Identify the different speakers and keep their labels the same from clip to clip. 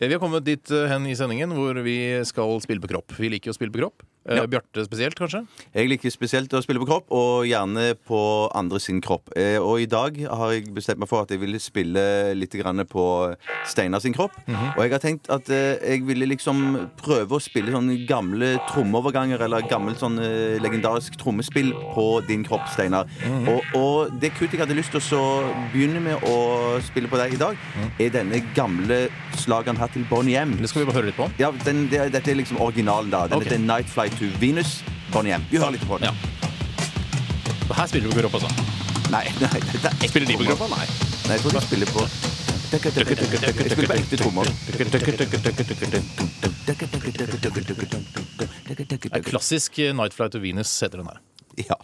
Speaker 1: Eh, Vi har kommet dit eh, hen i sendingen hvor vi skal spille på kropp. Vi liker jo å spille på kropp. Eh, Bjarte spesielt, kanskje.
Speaker 2: Jeg liker spesielt å spille på kropp, og gjerne på andre sin kropp. Eh, og i dag har jeg bestemt meg for at jeg vil spille litt grann på Steinar sin kropp.
Speaker 1: Mhm.
Speaker 2: Og jeg har tenkt at eh, jeg ville liksom prøve å spille sånne gamle trommeoverganger, eller gammelt sånn eh, legendarisk trommespill på din kropp, Steinar.
Speaker 1: Mhm.
Speaker 2: og, og det kuttet jeg hadde lyst til å så begynne med å spille på deg i dag, er denne gamle slageren her til Bonnie M.
Speaker 1: Mhm. Det skal vi bare høre litt på.
Speaker 2: Ja, den, det, dette er liksom originalen, da. Den
Speaker 1: Ok.
Speaker 2: heter Nightfly to Venus. Bonnie M. Vi hører litt på den.
Speaker 1: Ja. Her spiller vi på kropp, altså.
Speaker 2: Nei, nei, dette er ekte
Speaker 1: Spiller de på
Speaker 2: trommer.
Speaker 1: gruppa? Nei.
Speaker 2: Nei, jeg tror de spiller på Jeg spiller på ekte trommer.
Speaker 1: Det er klassisk eh, Night Flight to Venus, heter den her.
Speaker 2: Ja.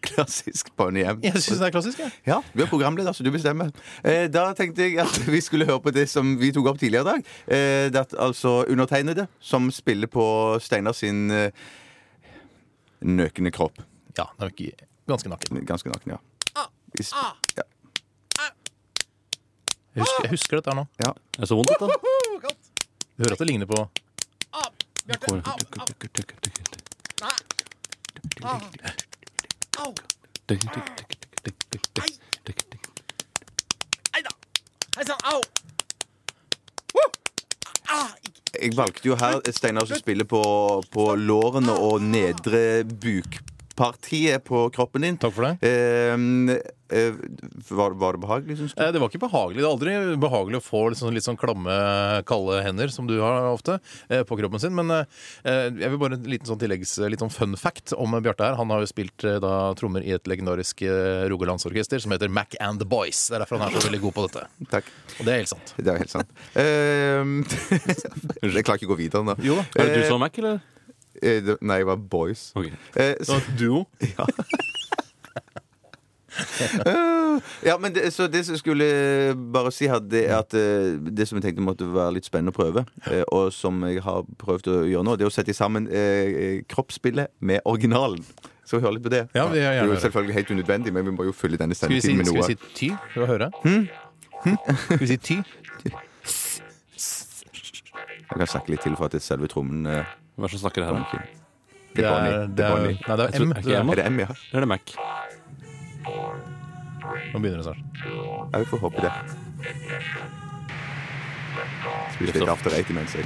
Speaker 2: Klassisk Bonnie M.
Speaker 1: Jeg syns den er klassisk, jeg.
Speaker 2: Ja, du er programleder, så du bestemmer. Eh, da tenkte jeg at vi skulle høre på det som vi tok opp tidligere i dag. Eh, det at altså undertegnede som spiller på Steinar sin eh, nøkne kropp.
Speaker 1: Ja, den er ikke ganske naken.
Speaker 2: Ganske naken, ja. Vi sp- ja.
Speaker 1: Jeg husker, jeg husker dette her nå.
Speaker 2: ja.
Speaker 3: Det er så vondt, dette.
Speaker 1: Ah! Du hører at det ligner på
Speaker 2: Jeg valgte jo her Steinar som spiller på, på lårene og nedre bukpartiet på kroppen din.
Speaker 1: Takk for det.
Speaker 2: Eh, eh, var, var det behagelig, syns du?
Speaker 1: Eh, Det var ikke behagelig. Det er aldri behagelig å få litt sånn, litt sånn klamme, kalde hender, som du har ofte, eh, på kroppen sin. Men eh, jeg vil bare en liten sånn tilleggs, litt sånn fun fact om Bjarte her. Han har jo spilt eh, da, trommer i et legendarisk eh, rogalandsorkester som heter Mac and the Boys. Det er derfor han er så veldig god på dette.
Speaker 2: Takk.
Speaker 1: Og det er helt sant.
Speaker 2: Det er helt sant. Eh, jeg klarer ikke å gå videre nå.
Speaker 1: Jo da.
Speaker 3: Er det du som er Mac, eller?
Speaker 2: Eh, det- Nei, jeg var boys.
Speaker 3: Ok.
Speaker 2: Eh, så-
Speaker 1: Duo.
Speaker 2: Ja, men det, så det som jeg skulle bare si her, det er at eh, det som jeg tenkte måtte være litt spennende å prøve, eh, og som jeg har prøvd å gjøre nå, det er å sette sammen eh, kroppsspillet med originalen. Så vi hører litt på det.
Speaker 1: Ja, vi gjør
Speaker 2: det er jo
Speaker 1: gjerne det.
Speaker 2: selvfølgelig helt unødvendig, men vi må jo fylle denne
Speaker 1: Skal vi si,
Speaker 2: sendetiden med
Speaker 1: skal vi
Speaker 2: noe. Hm?
Speaker 1: si ty? Skal vi høre? Hm? Skal vi si ty?
Speaker 2: Jeg kan snakke litt til for at det er selve trommen eh,
Speaker 3: Hva er det som snakker her? nå?
Speaker 2: Det er
Speaker 1: det
Speaker 2: Bonnie. Det
Speaker 1: er,
Speaker 2: er Bonnie.
Speaker 1: nei, det er
Speaker 3: Jeg tror-
Speaker 1: M.
Speaker 3: er ikke
Speaker 1: Det er M.
Speaker 3: det
Speaker 2: Er det M, ja?
Speaker 3: Eller er det Mac?
Speaker 1: Nå begynner det snart.
Speaker 2: Ja, vi får håpe det. Spiller litt After Eight imens jeg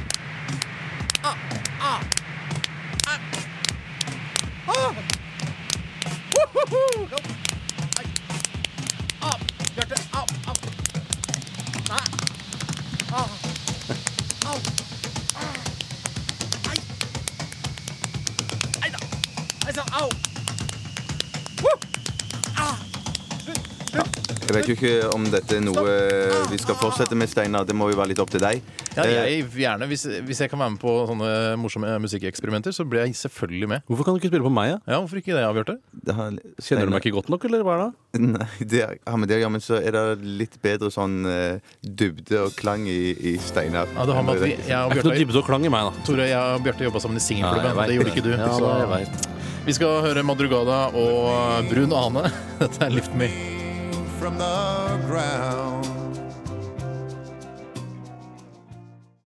Speaker 2: Jeg vet jo ikke om dette er noe eh, vi skal fortsette med, Steinar. Det må jo være litt opp til deg.
Speaker 1: Ja,
Speaker 2: Eh,
Speaker 1: jeg, gjerne, hvis, hvis jeg kan være med på sånne morsomme eh, musikkeksperimenter, så blir jeg selvfølgelig med.
Speaker 3: Hvorfor kan du ikke spille på meg? Ja?
Speaker 1: Ja, Hvorfor ikke det, Bjarte?
Speaker 2: Det har-
Speaker 3: Kjenner du
Speaker 2: Steinar-
Speaker 3: meg ikke godt nok, eller hva er det?
Speaker 2: Nei, det er, ja, men det, ja, men så er det litt bedre sånn eh, dybde og klang i, i Steinar.
Speaker 1: Ja, det har med at vi, jeg og
Speaker 3: Det er ikke noe
Speaker 1: Bjarte
Speaker 3: dybde og klang i meg, da.
Speaker 1: Tore, jeg og Bjarte jobba sammen i singelklubben.
Speaker 3: Nei,
Speaker 1: Det
Speaker 3: jeg vet
Speaker 1: gjorde ikke du.
Speaker 3: Ja,
Speaker 1: så-
Speaker 3: nei, jeg vet.
Speaker 1: Vi skal høre Madrugada og Brun Ane. Dette er Lift Me.
Speaker 4: from the ground.